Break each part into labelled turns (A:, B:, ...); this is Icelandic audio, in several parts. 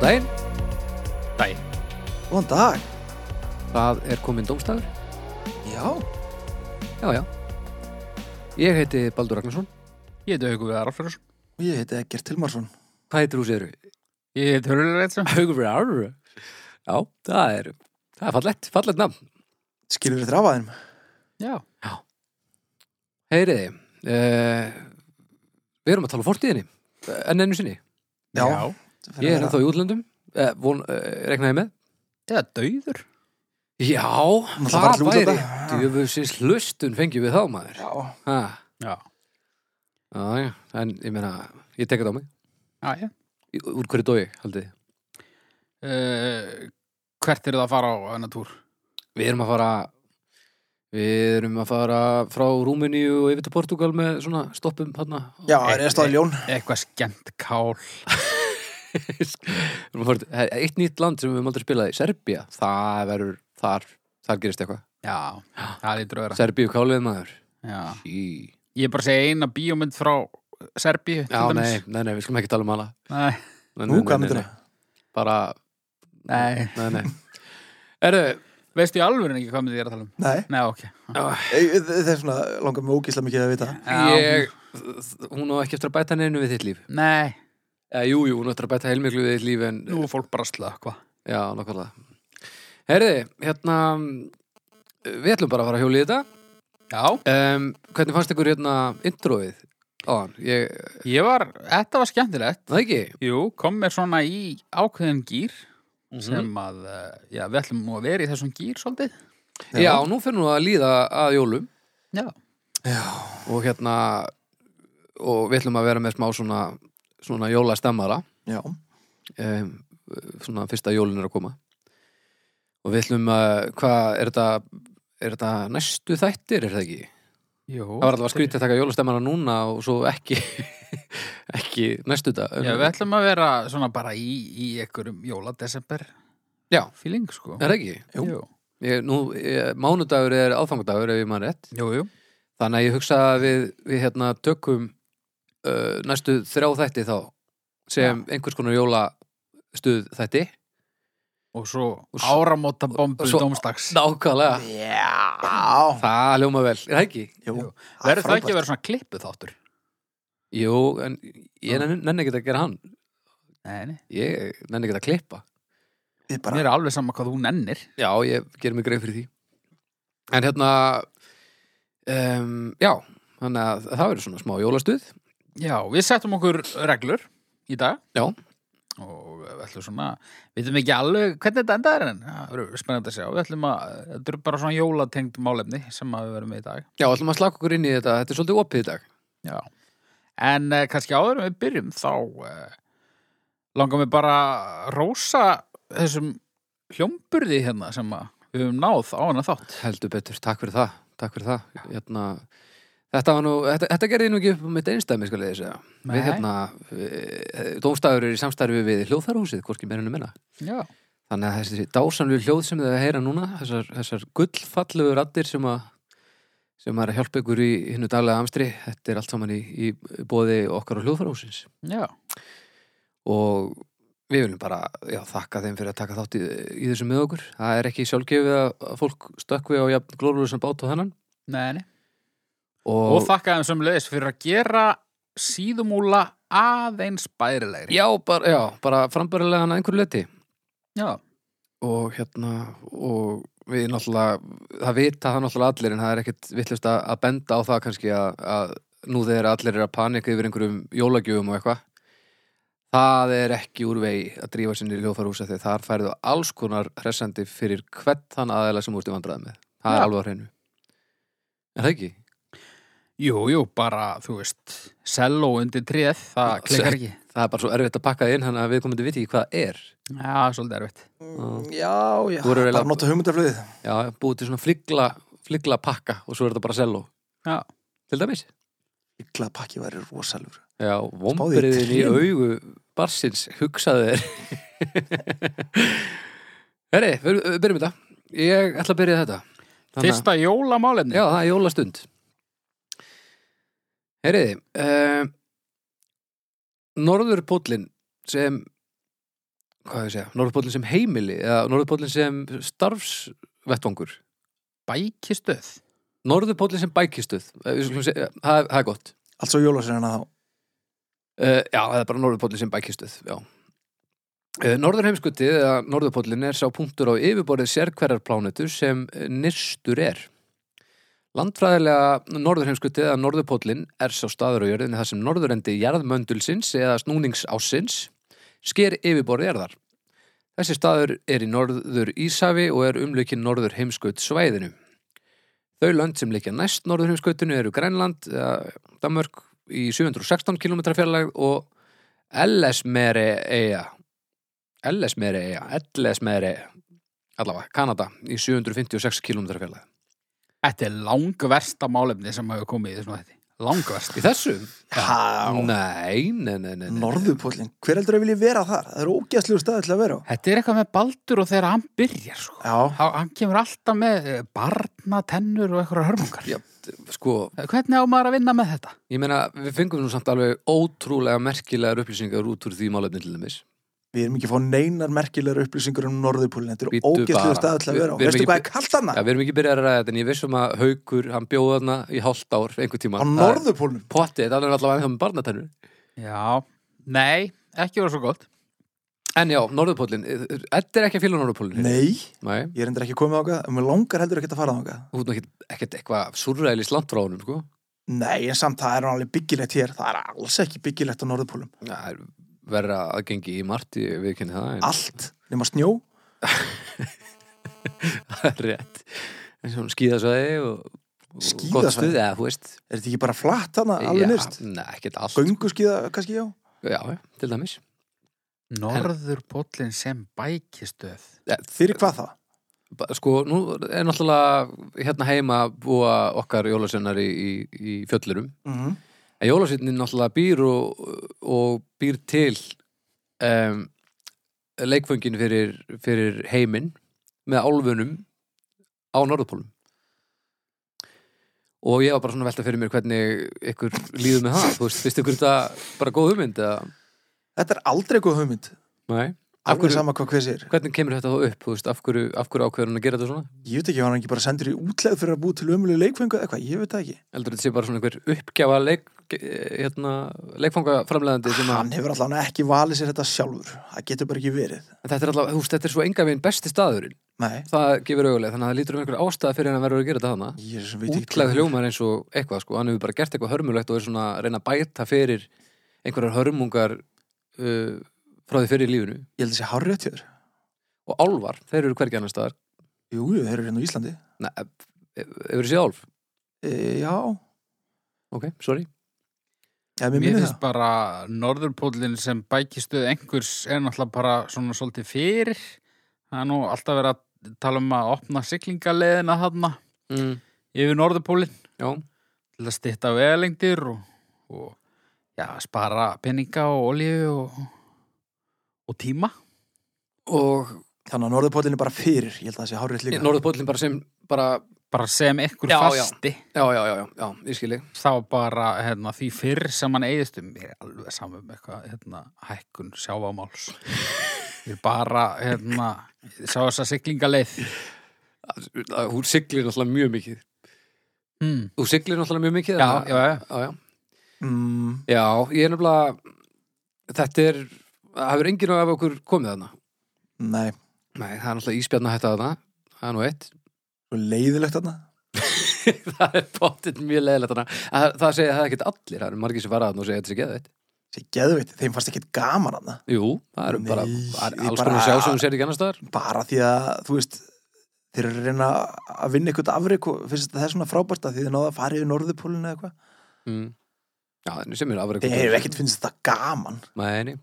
A: daginn,
B: Dæ.
C: Góðan dag.
A: það er komin dómstafur
C: Já.
A: Já, já Ég heiti Baldur Ragnarsson
B: Ég heiti Haugur Viðar Alfredsson.
C: Ég heiti Egert Tilmarsson.
A: Hvað heitir þú séru?
B: Ég heiti Hörlur Reitsson.
A: Haugur fyrir árur Já, það er, það er fallett, fallett nafn
C: Skilur þér afaðinum?
B: Já.
A: Heyriði, uh, við erum að tala um fortíðinni eh, enn ennu sinni Ég er ennþá í útlöndum, uh, von, uh, reknaði með
B: Eða dauður.
A: Já,
C: Náttúrulega fara
A: það
C: allir út
A: væri
C: þetta.
A: djöfusins hlustun fengjum við þá maður
C: Já.
A: ha,
B: Já.
A: já, já, en ég meina ég tek þetta á mig,
B: Já, já.
A: Í- úr hverju dói haldið þið?
B: Uh, hvert er það að fara á hennar túr?
A: Við erum að fara Við erum að fara frá Rúmeníu og yfir til Portugal með svona stoppum hérna.
C: Já, er ég staðið ljón?
B: Eitthvað skemmt kál.
A: Við erum að fara til- Eitt nýtt land sem við höfum aldrei spilað í, Serbía Það verður, þar, þar gerist eitthvað
B: Já. Það er í dröðra.
A: Serbíu kálið maður
B: Já.
A: Í.
B: Ég er bara að segja eina bíómynd frá Serbíu. til
A: Já, nei,
B: dæmis.
A: nei, nei, við skulum ekki tala um hana
B: Nei.
A: Nei, nei,
C: Nú,
A: nei,
C: hvað
A: nei,
C: myndir
A: nei. Bara,
B: Nei.
A: nei, nei Erðu,
B: Veistu í alvöru ekki hvað myndi ég er að tala um?
C: Nei.
B: Nei, ok.
C: Það er svona, langar mig ógísla mikið að vita.
B: Já.
A: ég, hún á ekki eftir að bæta neinu við þitt líf
B: Nei.
A: eh, Jú, jú, hún á eftir að bæta heilmiklu við þitt líf en,
B: Nú er fólk bara að slökva.
A: já, nokkvæmlega Herði, hérna við ætlum bara að fara að hjóla í þetta
B: Já.
A: um, Hvernig fannst ykkur hérna introið áðan? Ég,
B: Ég var, þetta var skemmtilegt.
A: það ekki?
B: Jú, kom mér svona í ákveðin gýr
A: Mhm.
B: sem að, eh, já, við ætlum nú að vera í þessum gýr svolítið.
A: Já, nú fyrir nú að líða að jólum
B: Já.
A: og hérna og við ætlum að vera með smá svona svona jólastemmara
C: Já.
A: um, svona fyrsta jólin er að koma og við ætlum að hvað er þetta er þetta næstu þættir er það ekki?
B: Jú.
A: Það var allavega skrítið að taka jólastemmana núna og svo ekki ekki næstu þetta
B: Já, við ætlum að vera svona bara í, í einhverjum jóladesember
A: Já.
B: feeling, sko.
A: er það ekki?
C: Jú.
B: Jú,
A: Ég, nú, ég, mánudagur er aðfangadagur ef ég maður rétt
B: jú. jú.
A: þannig að ég hugsa að við, við hérna tökum uh, næstu þrjá þætti þá sem einhvers konar jólastuð þætti
B: Og svo
A: Og svo-
B: áramóta bombu
A: og svo-
B: dómstags.
A: nákvæmlega,
C: Já.
A: það hljóma vel er það ekki?
C: Jú.
B: Verður það ekki að vera svona klippu þáttur?
A: Jú, en ég nenni nenni ekki að gera hann
B: Nei, nei.
A: ég nenni ekki að klippa
C: Við
B: Mér
C: bara,
B: er alveg sama hvað þú nennir.
A: Já, ég ger mig greið fyrir því En hérna um, Já, þannig að það verður svona smá jólastuð
B: Já, við settum okkur reglur í dag.
A: Já.
B: Og við ætlum svona, við veitum ekki alveg hvernig þetta endar en það verður spennandi að sjá. Við ætlum að, þetta eru bara svona jólatengd málefni sem að við verum með í dag.
A: Já, ætlum að slaka okkur inn í þetta Þetta er svolítið opið í dag
B: Já. En uh, kannski áður en við byrjum þá uh, langar mig bara að rósa þessum hljómburði hérna sem að við höfum náð á hana þátt.
A: Heldur betur, takk fyrir það Takk fyrir það hérna, Þetta var nú, þetta, þetta gerði ég nú ekki upp um mitt einstæmi skal ég segja
B: Nei.
A: Við hérna, eh, dómstafur er í samstarfi við hljóðþarhúsið, hvorki meirinu minna
B: Já.
A: Þannig að þessi dásanlu hljóð sem þau heyra núna, þessar, þessar gullfallegu raddir sem að sem er að hjálpa ykkur í hinnu daglega amstri þetta er allt saman í, í bóði okkar og hljóðfarhúsins
B: Já.
A: og við viljum bara já, þakka þeim fyrir að taka þátt í, í þessu með okkur það er ekki sjálfgefið að að fólk stökkvi á jafn glóruðu sem bát og þennan
B: Nei, nei.
A: og,
B: Og þakka þeim sem leiðis fyrir að gera síðumúla aðeins bærilegri.
A: já, bara, já, bara frambærilega hann að einhverju leti
B: Já.
A: og hérna og við náttúrulega, það vita það náttúrulega allir en það er ekkit vittlust að, að benda á það kannski að, að nú þegar allir eru að panika yfir einhverjum jólagjöfum og eitthvað það er ekki úr vegi að drífa sinni í ljófarhúsa þegar þar færðu alls konar hressandi fyrir hvern þann aðeila sem úrstu vandræði með það er
B: Já.
A: alveg á hreinu er það ekki?
B: Jú, jú, bara, þú veist, selló undir tréð, það klikkar ekki.
A: Það er bara svo erfitt að pakka það inn þannig að við komum til viti ekki hvað það er
B: Já, svolítið erfitt.
C: Mm, já, já.
A: Þú eru eiginlega-
C: Bara nota hugmyndaflöðið.
A: Já, búið til svona fligla, fligla pakka og svo er þetta bara selló
B: Já.
A: til dæmis
C: Ykla pakki væri rosalur.
A: Já,
C: Spáðu í
A: vombriðin í
C: trén.
A: augu barsins hugsaði þér Herri, við við byrjum þetta Ég ætla að byrja þetta Þannig að-
B: Fyrsta jólamálefni.
A: Já, það er jólastund Herriði eh, uh, Norðurpóllin sem hvað hefur ég segja, Norðupólinn sem heimili eða Norðupólinn sem starfsvettvangur
B: Bækistöð
A: Norðupólinn sem eh, bækistuð það er- það er gott
C: Allt svo jólaseinana þá
A: Uh, já, það er bara norðurpóllin sem bækistuð, já. Uh, Norðurheimskutið, eða norðurpóllin, er sá punktur á yfirborðið sérkverjar plánetu sem eh, nyrstur er. Landfræðilega norðurheimskutið, eða norðurpóllin, er sá staður á jörðinni þar sem norðurendi jarðmöndulsins eða snúningsásins sker yfirborðið jarðar. Þessi staður er í norður Ísafi og er umlökin norður heimskut svæðinu. Þau lönd sem leikja næst norður heimskutinu eru Grænland, eh, Danmörk, í 716 km fjarlæg og Ellesmere eiga Ellesmere eiga Ellesmere allavega, Kanada í 756 km fjarlæg
B: Þetta er langversta málefni sem hefur komið í þessum þetta Langversta
A: Í þessu?
C: Já.
A: Nei, nei, nei, nei, nei.
C: Norðupóllin, hver heldur að vilja vera þar? Það er ógæstlegu staði til að vera á.
B: Þetta er eitthvað með Baldur og þegar hann byrjar sko.
C: Já,
B: Hann hann kemur alltaf með eh, barnatennur og eitthvað hörmungar
A: Já, Sko,
B: Hvernig á maður að vinna með þetta?
A: ég meina við fengum nú samt alveg ótrúlega merkilegar upplýsingar út úr því málefni til þeim
C: við erum ekki að fá neinar merkilegar upplýsingar um Norðupóllin, þetta er
A: Bíddu bara.
C: ógæstlegu staði til að
A: Við-
C: vera
A: við
C: á.
A: erum
C: Veistu
A: ekki-
C: hvað er kallt
A: Já,
C: hana?
A: við erum ekki byrjað að ræða þetta en ég vissum að Haukur, hann bjóða þarna í hálft ár, einhver tíma
C: Á Norðupólnum?
A: Pottið, það er allavega ennþá með barnatennur
B: Já, nei, ekki vera svo gott
A: En já, Norðupólinn, þetta er ekki að fíla Norðupólinn
C: Nei,
A: Nei,
C: ég er endur ekki komið ákað, en mér langar heldur ekki að fara ákað.
A: þú ert nú ekkert, ekkert eitthvað surrælis langt frá honum, sko.
C: Nei, en samt það er nú alveg byggilegt hér, það er alls ekki byggilegt á Norðupólum.
A: Það er verra að gengi í margt, ég viðkynni það, en
C: Allt, nema snjó,
A: það er rétt. En svona skíðasvæði og, og
C: Skíðasvæði?
A: gott stuð, eða, þú veist.
C: er þetta ekki bara flatt hana alveg nýrst?
A: Nei, ekkert allt.
C: Gönguskíða, kannski já?
A: Já, já, til dæmis.
B: Norðurpóllin sem bækistöð
C: Fyrir hvað það?
A: Ba- Sko, nú er náttúrulega hérna heima búa okkar jólasennar í, í, í fjöllurum.
C: Mm
A: En jólasveitin náttúrulega býr og, og býr til um, leikföngin fyrir, fyrir heiminn með álfunum á Norðupólum. Og ég var bara svona að velta fyrir mér hvernig ykkur líður með það. Þú veist, finnst ykkur þetta bara góð hugmynd? Eða?
C: Þetta er aldrei eitthvað hugmynd,
A: Nei. Af
C: alveg
A: hverju,
C: sama hvað hver sér.
A: hvernig kemur þetta þá upp? Þú veist, af hverju, af hverju ákveður hann að gera þetta svona?
C: Ég veit ekki, var hann ekki bara sendur í útlegð fyrir að búi til ömuleg leikfengu eða hvað, ég veit það ekki.
A: Eldur þetta sé bara svona einhver uppgjafa leik, hérna, leikfangaframlegandi sem að...
C: Hann hefur allavega ekki valið sér þetta sjálfur, það getur bara ekki verið.
A: Þetta er allavega, þú veist, þetta er svo enga veginn besti staðurinn.
C: Nei,
A: það gefur augulega, þannig að það lítur um einhver ástæða fyrir hann að verður að gera þetta hana
C: ég er sem veit ekki.
A: útlæð hljómar eins og eitthvað sko, hann hefur bara gert eitthvað hörmulegt og er svona að reyna að bæta fyrir einhverjar hörmungar uh, frá því fyrir í lífinu
C: Ég held að sé hárrétt hjá þér.
A: og álvar, þeir eru hvergi annar staðar
C: Jú, jú, þeir eru hérna á Íslandi.
A: Nei, e- hefur þessi álf?
C: E, já,
A: Ok, sorry
C: ja, mér
B: Mér
C: minnir
B: finnst
C: það.
B: bara norðurpóllin sem bækistöð einhvers er náttúrulega bara svona svolítið fyrir Það er nú alltaf verið að tala um að opna siglingaleðina þarna
A: mm,
B: yfir norðurpólinn
A: Já,
B: til að stytta vegalengdir og, og já, spara peninga og olíu og, og tíma
A: og
C: Þannig að norðupóllin er bara fyrir, ég held að það sé hárrétt líka.
A: norðupóllin bara sem bara,
B: bara sem einhver
A: Já, já.
B: fasti
A: já, já, já, já, já, ég skilji
B: þá bara hérna, því fyrr sem hann eigðist um ég er alveg saman með eitthvað hérna, hækkun sjávamáls ég er bara hérna, ég sá þessa siglingaleið
A: Að- Hún siglir náttúrulega mjög mikið
B: hmm.
A: Þú siglir náttúrulega mjög mikið
B: já,
A: þannig að-
B: já, já,
A: já, já.
C: Mm,
A: Já, ég er nefnilega þetta er, það hefur enginn af okkur komið þarna
C: nei,
A: Nei, það er náttúrulega íspjarna hætta þarna Það er nú eitt
C: svo leiðilegt þarna.
A: Það er bóttið mjög leiðilegt þarna Það, það segja það ekkert allir, það eru margir sem fara þarna og segja þetta sé geðveitt
C: Sér geðveitt, þeim fannst ekkit gaman þarna.
A: Jú, það eru bara
C: Nei,
A: það er
C: ég
A: alls
C: bara-
A: konar sjá sem hún sér ekki annars staðar
C: Bara því að, þú veist, þeir eru að reyna að vinna eitthvað afrik og finnst þetta það er svona frábært að því þeir náða að fara yfir norðupólinn eða eitthvað.
A: mm. Já, en sem er afreik
C: Þeir hefur ekkit finnst þetta gaman.
A: Nei,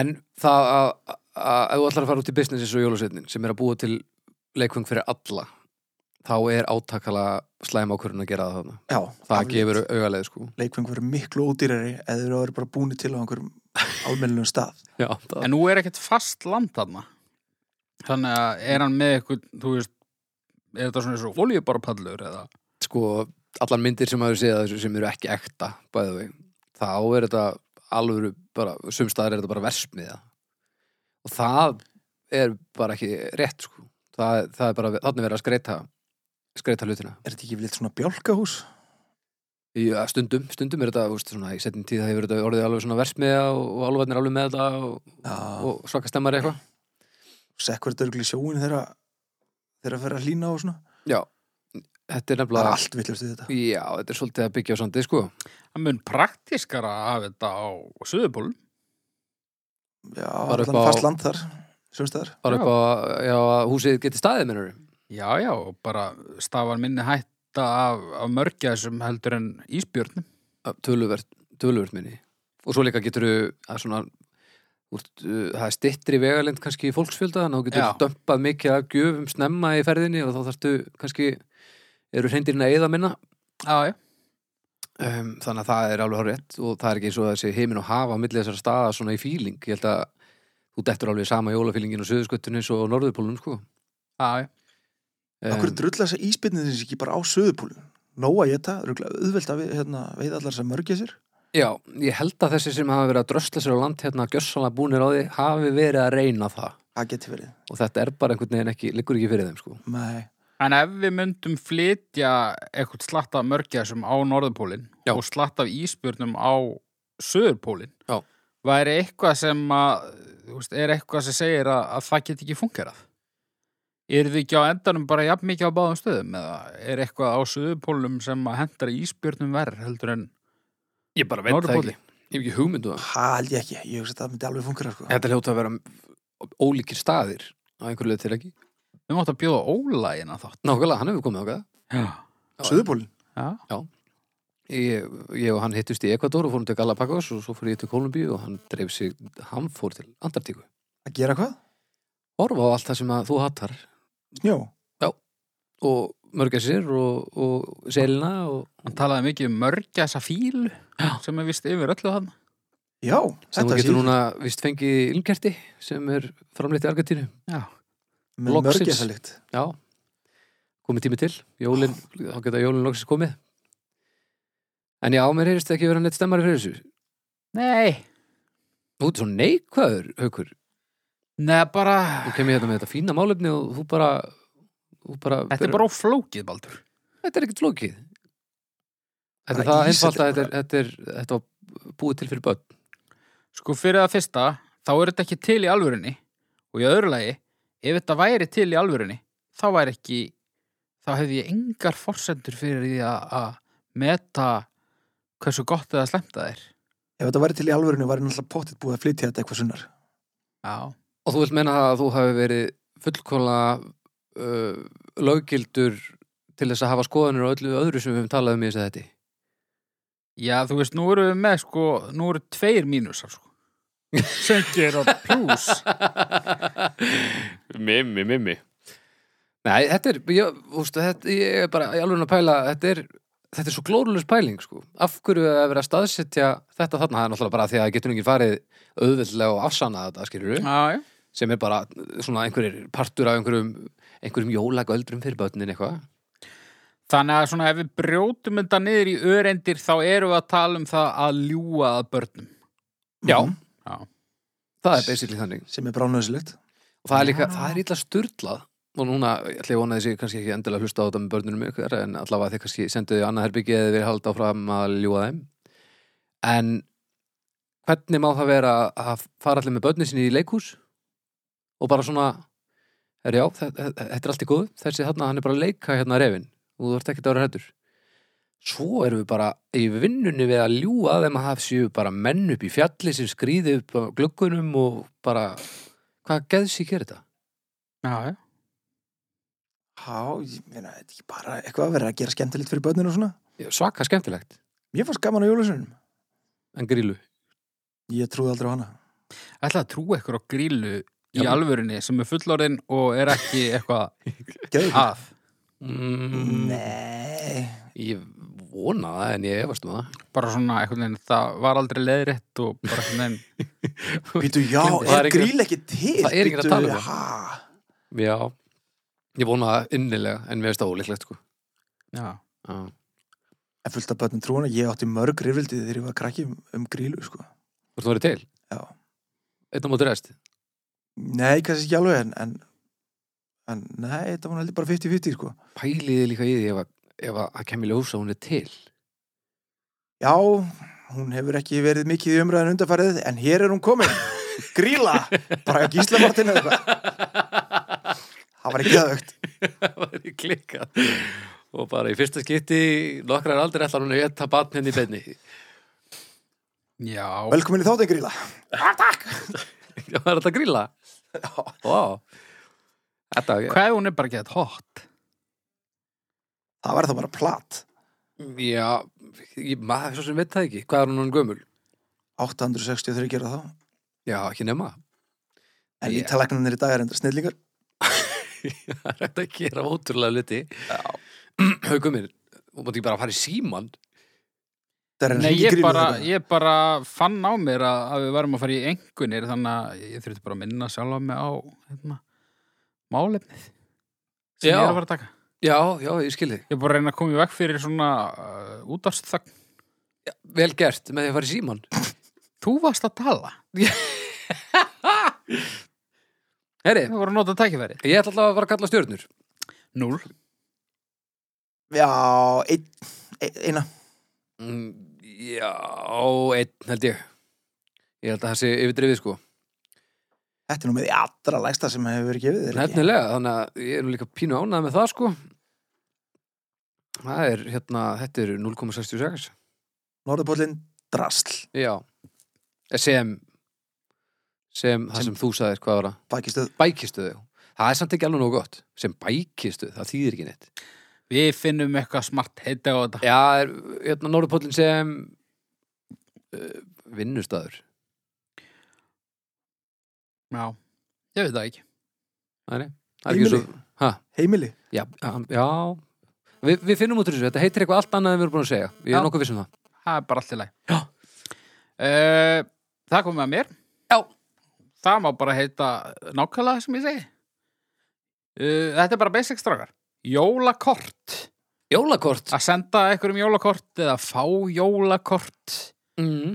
A: En það að, að, að ef þú ætlar að fara út í business eins og jólusveitnin sem er að búa til leikvöng fyrir alla þá er átakala slæma ákvörðun að gera það þarna
C: Já,
A: Það
C: afleitt.
A: gefur augaleið sko
C: leikfeng verið miklu ódýrari eða þeir eru bara búinir til á einhverjum almennlum stað
A: Já, það,
B: en nú er ekkert fast land þarna þannig að er hann með eitthvað þú veist, er þetta svona eins og olíubarpallur eða
A: sko allar myndir sem hafa séð af þessu sem eru ekki ekta bæði við, þá er þetta alvöru bara, sumstaðar er þetta bara versmiða og það er bara ekki rétt sko. það, það er bara, þannig verið að skreita skreita hlutina
C: Er þetta ekki vilt svona bjálkahús?
A: í, ja, stundum, stundum er þetta, þú veist, svona í setjum tíð það hefur þetta orðið alveg svona versmiða og, og alvarnir alveg með þetta og,
C: Já. Og
A: og svaka stemmar eitthvað
C: sekkur þetta örgulega í sjóin þegar þegar að fer að hlýna og svona
A: já, þetta er
C: Það
A: nefnilega
C: er allt villust við þetta
A: já, þetta er svolítið að byggja á sandi sko
B: Það mun praktískara að hafa þetta á Suðupólum.
C: Já,
A: Bara upp
C: allan
A: á-
C: fast land þar Sjónstæðar
A: bara upp á, já, að húsið geti staðið minnur
B: Já, já, og bara stafar minni hætta af, af mörgja sem heldur en ísbjörnum.
A: töluvert, töluvert minni og svo líka getur þú svona úr, það er stittri vegalind kannski í fólksfjölda þannig að þú getur
B: Já.
A: dömpað mikið af gjöfum snemma í ferðinni og þá þarftu kannski eru hreindirinn að eyða minna
B: Já, já.
A: um, þannig að það er alveg hár rétt og það er ekki eins og þessi heiminn og hafa á milli þessara staða svona í fíling ég held að þú dettur alveg í sama jólafílingin og söðuskvöttunni og norðurpólunum sko
B: Já, já.
A: um,
C: Akkur drulla þess að íspyrnið þessi ekki bara á söðupúlun Nóa ég þetta, örgulega auðvelt að við, hérna, veið allar sem mörgja sér
A: Já, ég held að þessi sem hafa verið að drösla sér á land hérna gjössanlega búnir á því hafi verið að reyna það
C: Það geti verið
A: og þetta er bara einhvern veginn ekki, liggur ekki fyrir þeim sko
C: Nei,
B: En ef við myndum flytja eitthvað slatt af mörgja sem á Norðupólinn
A: Já.
B: og slatt af ísbjörnum á Suðupólinn,
A: Já.
B: væri eitthvað sem að, þú veist, er eitthvað sem segir að, að það get ekki fungerað? Er þið ekki á endanum bara jafn mikið á báðum stöðum eða er eitthvað á Suðupólum sem að hendar ísbjörnum verð heldur en
A: Ég bara
B: veit það
A: ekki Ég hef ekki hugmyndu það
C: það held ég ekki Ég hugsa að það myndi alveg fungera sko.
A: Þetta hljóta að vera ólíkir staðir á einhverju leið til ekki
B: við máttum að bjóða ólægina þátt.
A: Nákvæmlega, hann hefur komið ákveða
B: Já.
C: Söðupúlun
B: Já.
A: ég, ég og hann hittust í Ekvador og fórum til Galapagos og svo fór ég til Kolumbíu og hann dreif sig, hann fór til Antartíku
C: Að gera hvað?
A: Orfa á allt það sem að þú hattar
C: Snjó
A: og mörgæsir og, og selina og
B: Hann talaði mikið um mörgja þessa fílu
A: Já.
B: sem er vist yfir öllu hann.
C: Já,
A: sem þú
C: sé
A: getur
C: ég.
A: núna vist fengið í ilmkerti sem er framleitt í Argentínu
B: Já.
C: Með
A: loksins.
C: mörgja það líkt
A: Já, komið tími til Jólin, þá geta jólin loksins komið En já, mér heyrist ekki vera neitt stemmari fyrir þessu
B: Nei.
A: Þú ert svo neikvæður, haukur
B: Nei, bara...
A: Þú kemur hérna með þetta fína málefni og þú bara, þú bara
B: Þetta er bara óflókið, Baldur.
A: Þetta er ekkert flókið Þetta er
C: Bara
A: það
C: ísæti-
A: einfalt að þetta er, þetta er Þetta var búið til fyrir börn
B: Sko, fyrir það fyrsta, þá er þetta ekki til í alvörinni og í öðru lagi, ef þetta væri til í alvörinni, þá væri ekki, þá hefði ég engar forsendur fyrir því að að meta hversu gott eða slemmt það er.
C: Ef þetta væri til í alvörinu, væri náttúrulega pottitt búið að flytja þetta eitthvað sunnar
B: Já.
A: Og þú vilt meina það að þú hafi verið fullkóla uh, löggildur til þess að hafa skoðanir og öllu öðru sem við höfum talað um í þess að þetta
B: Já, þú veist, nú eru við með, sko, nú eru tveir mínusar, sko. Söngir og plús.
A: Mimmi, mimmi Nei, þetta er, ég, úst, þetta, ég er bara í alveg að pæla, þetta er þetta er svo glórulegs pæling, sko af hverju er að vera að staðsetja þetta þarna það er náttúrulega bara því að það getur ekki farið auðveldlega og afsanna þetta, skilur við
B: Já, já.
A: sem er bara svona einhverjir partur af einhverjum, einhverjum jólagöldrum fyrir börnin eitthvað
B: Þannig að svona ef við brjótum þetta niður í örendir þá erum við að tala um það að ljúga að börnum.
A: Já.
C: Mhm.
A: það er basically þannig
C: Sem er bránöðsilegt
A: og það er líka,
B: Já.
A: það er illa sturlað og núna, ég ætla ég vona þessi kannski ekki endilega að hlusta á þetta með börnunum ykkur en allavega þið kannski senduðu í annað herbyggi eða við halda áfram að ljúa þeim en hvernig má það vera að fara allir með börnin sinni í leikhús og bara svona er já, þe- þe- þetta er allt í góð þessi þarna, hann er bara að leika hérna refin og þú ert ekkert að vera hættur svo erum við bara í vinnunni við að ljúa þeim að það séu bara menn upp í fjalli sem skrýði upp á gluggunum og bara hvað geðsík er þetta?
B: Já, já.
C: Já, ég meina, þetta er ekki bara eitthvað að vera að gera skemmtilegt fyrir börnin og svona
A: Svaka skemmtilegt
C: Mér fannst gaman á jólusunum
A: en grílu.
C: Ég trúði aldrei á hana
B: ætla að trúa ykkur á grílu í
A: Já.
B: alvörinni sem er fullorðin og er ekki eitthvað
C: Geðu
B: að.
A: Mm,
C: Nei
A: ég vona það en ég efast um það.
B: Bara svona einhvern veginn, það var aldrei leiðrétt og bara einhvern veginn,
C: Býtu, já,
A: Gleymdi. Það er
C: er
A: ekki-
C: gríl ekki til?
A: það er ekki að
C: Bíddu,
A: tala um það.
C: ha?
A: Já, ég vona það innilega en mér finnst það ólíklegt sko.
B: já.
A: Já.
C: En fullt af börnum trúana, ég átti mörg rifildið þegar ég var krakki um, um grílu, sko
A: Hvort þú verið til?
C: Já.
A: Einn á móti rest?
C: Nei, kannski ekki alveg en, en, en nei, þetta var nú heldur bara 50-50 sko.
A: Pæliði líka í því ef, að- ef að það kemur ljósa hún er til.
C: Já, hún hefur ekki verið mikið í umræðin undarfærið en hér er hún komin. Gríla! Bara gísla Martin eða eitthvað. Það var ekki aðaukt.
A: Það var í klikkað. Og bara í fyrsta skipti nokkrar aldrei ætlar hún að geta batn henni í beinni.
B: Já,
C: Velkomin í þáttin Gríla.
A: Já, var þetta að grilla? Já. Vá. Þetta,
B: hvað ef hún er bara ekki þetta hot?
C: Það var það bara plat.
A: já, ég, maður svo sem veit það ekki. Hvað er hún hún gömul?
C: 863 gera þá.
A: Já, ekki nema.
C: En
A: Ég-
C: yeah. í dag er enda snillingar.
A: Það er hægt að gera ótrúlega luti. Já. Haugum minn, hún mátti ekki bara að fara í síman.
C: Það er
B: Nei,
C: hringi
B: ég
C: Grýlu
B: bara,
C: þarna.
B: ég bara fann á mér að, að við varum að fara í engunir þannig að ég þurfti bara að minna sjálfa mig á hérna, málefnið sem
A: Já.
B: ég er að fara að taka.
A: Já, já, ég skil þig.
B: Ég er bara að reyna að koma í veg fyrir svona uh, útastþögn.
A: Vel gert með því að fara í síman.
B: Þú varst að tala.
A: Herri,
B: Þú voru að nota tækifæri.
A: ég ætla alltaf að fara að kalla stjörnur.
B: Núl.
C: Já, ein, ein, eina.
A: Mm, já, einn held ég. Ég held að það sé yfirdrifið sko.
C: Þetta er nú með því allra lægsta sem hefur verið gefið þér. ekki?
A: Nefnilega, þannig að ég er nú líka pínu ánað með það sko. Það er hérna, þetta er 0,66.
C: Norðurpóllinn drasl.
A: Já. Eh, Sem, sem, það
C: Sem-
A: sem þú sagðir, hvað var það?
C: Pakistöð.
A: Bækistuð. Það er samt ekki alveg nóg gott. Sem bækistuð, það þýðir ekki neitt.
B: Við finnum eitthvað smart heita á þetta.
A: Já, er, hérna, Norðupóllin sem uh, vinnustadur.
B: Já. Ég veit það ekki.
A: Það er, það er ekki
C: Heimili.
A: svo, hæ?
C: Heimili.
A: Já, já, já. Vi, við finnum út úr þessu, þetta heitir eitthvað allt annað en við erum búin að segja, ég
B: Já.
A: er nokkuð viss um það
B: Það er bara allt í lagi.
A: Já.
B: Eh, það komið að mér.
A: Já.
B: Það má bara heita nákvæmlega það sem ég segi. Uh, þetta er bara basic strákar. Jólakort.
A: Jólakort
B: Að senda einhverjum jólakort eða fá jólakort.
A: mm.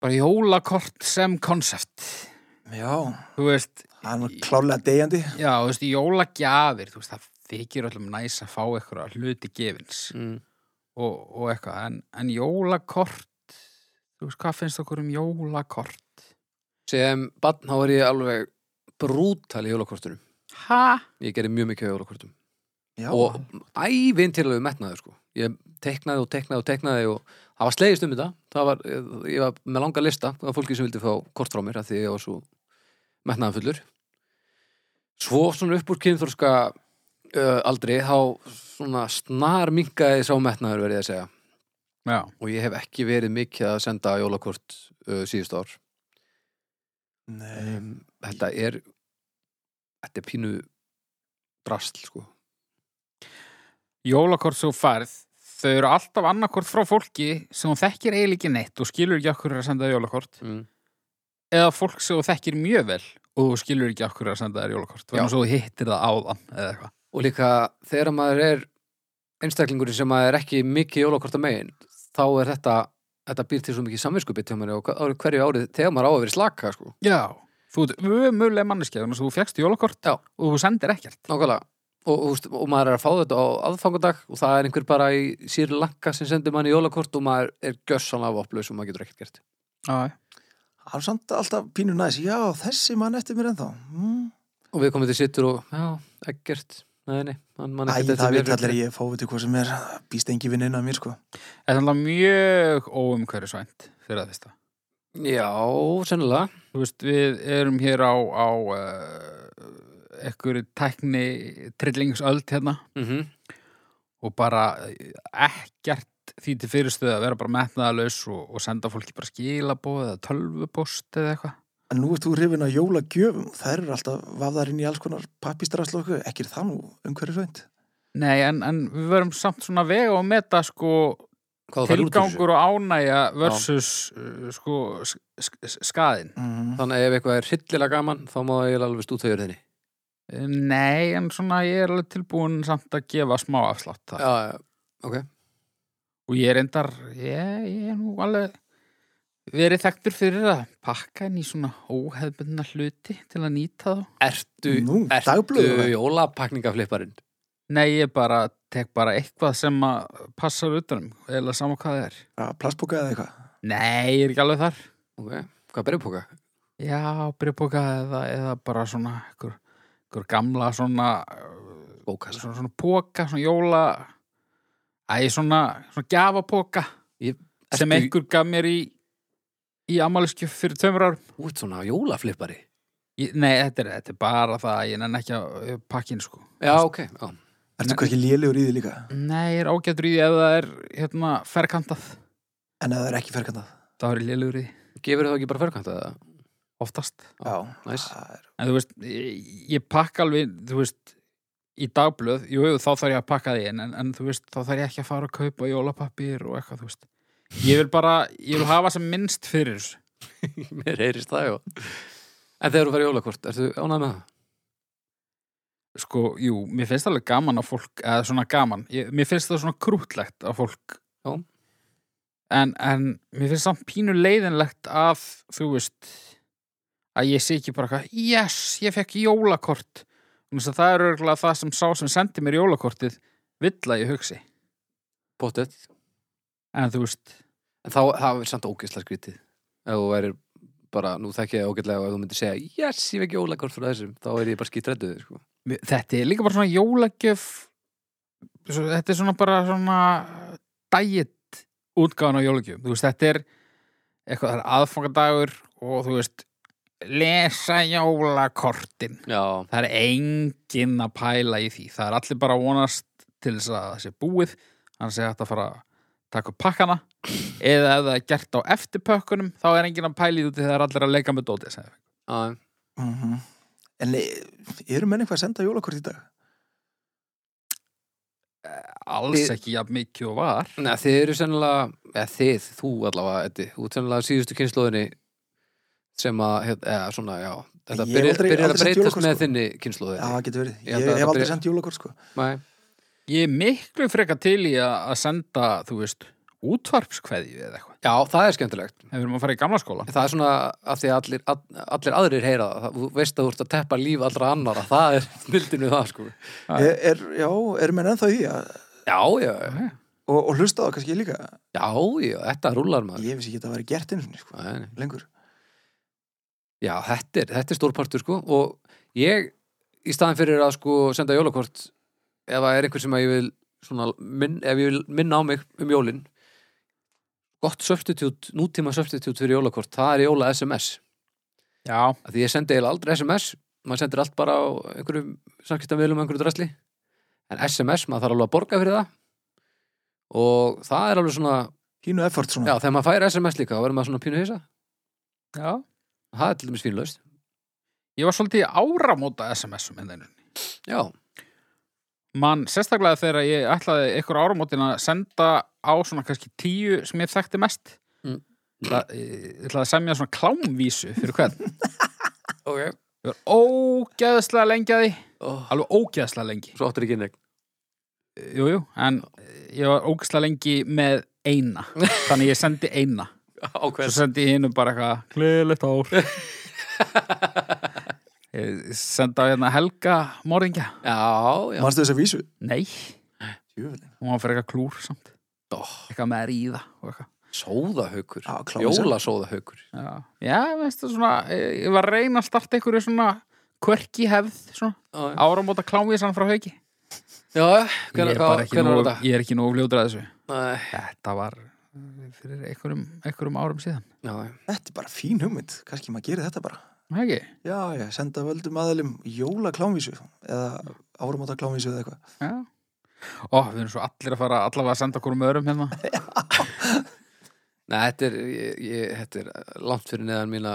B: Bara jólakort sem konsept.
C: Já,
B: Þú veist,
C: það er nú klárlega deyjandi.
B: já, þú veist, jólagjafir, þú veist, það þykir öllum næs að fá eitthvað hluti gefins.
A: Mm.
B: og, og eitthvað en, en jólakort þú veist hvað finnst okkur um jólakort
A: sem barn þá er ég alveg brútal í jólakortunum
B: ha?
A: ég gerði mjög mikið á jólakortum
C: Já,
A: og ævinn til að við metnaði sko. ég teknaði og teknaði og teknaði og það var slegist um þetta það var, ég var með langa lista af fólki sem vildi fá kort frá mér af því ég var svo metnaðan fullur svo svona upp úr kynþorska uh, aldrei þá svona snar minkaði sá metnaður verið að segja
B: Já.
A: og ég hef ekki verið mikið að senda jólakort uh, síðust ár
C: nei.
A: um, þetta er þetta er pínu drasl sko
B: jólakort sem þú færð þau eru alltaf annarkort frá fólki sem þú þekkir eiginlega ekki neitt og skilur ekki okkur að senda þér jólakort
A: mm.
B: eða fólk sem þú þekkir mjög vel og þú skilur ekki okkur að senda þér jólakort
A: Já.
B: þannig að þú hittir það áðan eða eitthvað
A: og líka þegar maður er einstaklingurinn sem maður er ekki mikið jólakorta megin þá er þetta þetta býr til svo mikið samvinskupið til maður og hver- hverju árið þegar maður á að vera í slaka sko
B: Já. þú ert ömuleg manneskja þannig að þú fjekkst jólakort
A: Já.
B: og þú sendir ekkert
A: nákvæmlega og, og, og, og maður er að fá þetta á aðfangadag og það er einhver bara í sír lakka sem sendir manni jólakort og maður er gjössanlega voplaus og maður getur ekkert gert
B: Já.
C: Það er samt alltaf pínu næs. Já, þessi mann eftir mér ennþá. Mm.
A: og við komum til sittur og já, ekkert nei, nei, man, man
C: Æ,
A: ekkert eftir
C: það
A: mér.
C: veit allir að ég fá við til hvað sem er. Býst engi vinn inn að mér, sko.
B: Þetta er alltaf mjög óumhverfisvænt fyrir að fyrsta
A: já, sennilega
B: Þú veist, við erum hér á, á uh, ekkur tækni trillingsöld hérna
A: mm
B: og bara eh, ekkert því til fyrirstöðu að vera bara metnaðalaus og, og senda fólki bara skilabóð eða tölvupost eða eitthvað.
C: En nú ert þú hrifin að jólagjöfum. Það eru alltaf vafðar inn í alls konar pappistrasl og okkur. Ekki er það nú umhverju svönd.
B: Nei, en, en við verum samt svona að vega og meta sko
A: Hvað þú færð út úr þessu?
B: tilgangur og ánægja versus uh, sko sk sk skaðin.
C: Mm.
A: Þannig að ef eitthvað er hryllilega gaman þá má ég alveg stútauður þinni
B: Eh, Nei, en svona ég er alveg tilbúin samt að gefa smá afslátt það.
A: Já, já, ok
B: og ég er endar ég, ég er nú alveg verið þekktur fyrir að pakka inn í svona óhefbundna hluti til að nýta þá.
A: Ertu,
C: Mm. Nú,
A: ertu
C: dagblöðum.
A: jólapakningaflipparinn?
B: Nei, ég bara tek bara eitthvað sem að passar utanum, eða sama hvað það er.
C: Plastbóka eða eitthvað.
B: Nei, ég er ekki alveg þar.
A: Ok, hvað berjupóka?
B: Já, breyfbóka eða, eða bara svona ykkur, ykkur gamla svona, uh,
A: Bókassa.
B: svona, svona póka, svona jóla, æ, svona, svona gjafapóka
A: Ég-
B: sem
A: ertu-
B: einhver gaf mér í, í amáliskjöf fyrir tveimur árum.
A: Út svona jólaflippari?
B: Ég, nei, þetta er, þetta er bara það að ég nenn ekki að pakkin sko.
A: Já, ok. Já.
C: Ertu kannski lélegur í því líka?
B: Nei, ég er ágættur í því ef það er hérna ferkantað.
C: En ef það er ekki ferkantað?
B: Það er ég lélugur í því,
A: Gefur það ekki bara ferkant eða?
B: oftast.
A: Já,
C: Næs.
A: næs.
B: En þú veist, ég, ég pakka alveg, þú veist, í dagblöð, jú, jú, þá þarf ég að pakka því en, en, en þú veist, þá þarf ég ekki að fara að kaupa jólapapir og eitthvað, þú veist. Ég vil bara, ég vil hafa sem minnst fyrir þessu.
A: Mér heyrist það, já. En þegar þú færi jólakort, ertu ánægð með það?
B: Sko, jú, mér finnst alveg gaman að fólk, eða svona gaman, ég, mér finnst það svona krútlegt að fólk.
A: Já.
B: En, en mér finnst samt pínu leiðinlegt að, þú veist, að ég sé ekki bara eitthvað, yes, ég fekk jólakort. Þú veist að það er örgulega það sem sá sem sendi mér jólakortið vill að ég hugsi.
A: Pottet.
B: En þú veist,
A: En þá, það er samt ógeðslega skrítið. Ef þú værir bara, nú þekki ég ágætlega og ef þú myndir segja, yes, ég vekki jólakort frá þessum, þá er ég bara skítrættuð, sko.
B: mér- þetta er líka bara svona jólagjöf svo, Þetta er svona bara svona dæitt útgáðan á jólagjöf Þú veist, þetta er eitthvað, það er aðfangadagur og þú veist, lesa jólakortin
A: Já,
B: Það er enginn að pæla í því Það er allir bara að vonast til þess að það sé búið Hann sé hægt að fara að taka upp pakkana eða ef það er gert á eftirpökkunum þá er enginn að pæla í því þegar allir að leika með dótið sem
A: aðeim.
C: Mhm. En e- eru menn eitthvað að senda jólakort í dag?
B: alls
A: Þið-
B: ekki jafn mikið og var
A: Nei, þið eru sennilega, eða þið, þú allavega, Eddi, þú ert sennilega síðustu kynnslóðinni sem að, hér- eða svona, já, þetta
C: Ég hef
A: byrjar,
C: aldrei-
A: byrjar
C: aldrei
A: að
C: sent
A: breytast
C: jólakort,
A: með
C: sko.
A: þinni
C: Já,
A: kynnslóði.
C: það getur verið.
A: Ég held
C: Ég,
A: að
C: hef
A: það
C: aldrei
A: byrja-
C: sendt jólakort, sko.
A: Nei,
B: Ég er miklu freka til í að að senda, þú veist, útvarpskveðju eða eitthvað.
A: já, það er skemmtilegt.
B: Ef við erum að fara í gamla skóla.
A: Það er svona að því að allir, all, allir aðrir heyra það, það, þú veist að þú ert að teppa líf allra annara, það er mildin við það, sko.
B: Já.
C: Er, er, já, eru menn ennþá í því að,
A: Já, já, já,
C: og, og hlusta á það kannski líka?
A: já, þetta rúlar maður.
C: Ég vissi ekki að það væri gert einu sinni, sko,
A: Nei, nei.
C: lengur.
A: Já, þetta er, þetta er stórpartur, sko, og ég, í staðan fyrir að, sko, senda jólakort, ef það er einhver sem að ég vil, svona, minn, ef ég vil minna á mig um jólin, gott substitute, nútíma substitute fyrir jólakort, það er jóla SMS.
B: Já,
A: Af Því ég sendi eiginlega aldrei SMS, maður sendir allt bara á einhverjum samkiptamviðlum og einhverju drasli, en SMS, maður þarf alveg að borga fyrir það og það er alveg svona,
C: Hínu effort
A: já,
C: svona.
A: þegar maður fær SMS líka, þá verður maður svona pínu hissa,
B: já.
A: það er til dæmis fínlaust,
B: Ég var svolítið í áramóta SMS-um en þennun.
A: já,
B: hérna Man, sérstaklega þegar ég ætlaði ykkur áramótin að senda á svona kannski tíu sem ég þekkti mest.
A: Mm.
B: Það, ég ætlaði að semja svona klámvísu fyrir hvern.
A: ok,
B: Ég var ógeðslega lengi að því.
A: oh.
B: Alveg ógeðslega lengi.
A: svo áttur ekki inn
B: Jú, jú, en ég var ógeðslega lengi með eina. Þannig ég sendi eina. Svo
A: ákveð
B: sendi ég hinnum bara eitthvað Gleðilegt ár Ég sendi á hérna Helga morðingja
A: Já, já
C: Manstu þess að vísu?
B: Nei,
C: Jöfnir.
B: hún var fyrir eitthvað klúr samt
A: Ó.
B: Eitthvað með að ríða og eitthvað
A: Sóðahaukur,
C: Já, kláði sér.
A: jólasóðahaukur
B: Já, Já veist það svona Ég ég var að reyna að starta einhverju svona Quirky hefð svona
A: Já,
B: Áramóta klámvísan frá hauki
A: já,
B: Ég
A: hvernig
B: er bara ekki
A: var
B: nógu,
A: þetta?
B: ég er ekki nógu fljótur að þessu
A: Nei,
B: Þetta var eh, fyrir einhverjum, einhverjum árum síðan
A: já,
C: Þetta er bara fín hugmynd. Kannski maður gerir þetta bara.
B: Það ekki?
C: Já, já, senda völdum aðalum jólaklámvísu eða áramóta klámvísu eða eitthvað.
B: Já Ó, við erum svo allir að fara allavega að senda okkur um örum hérna
A: Nei, þetta er, ég, ég, þetta er langt fyrir neðan mína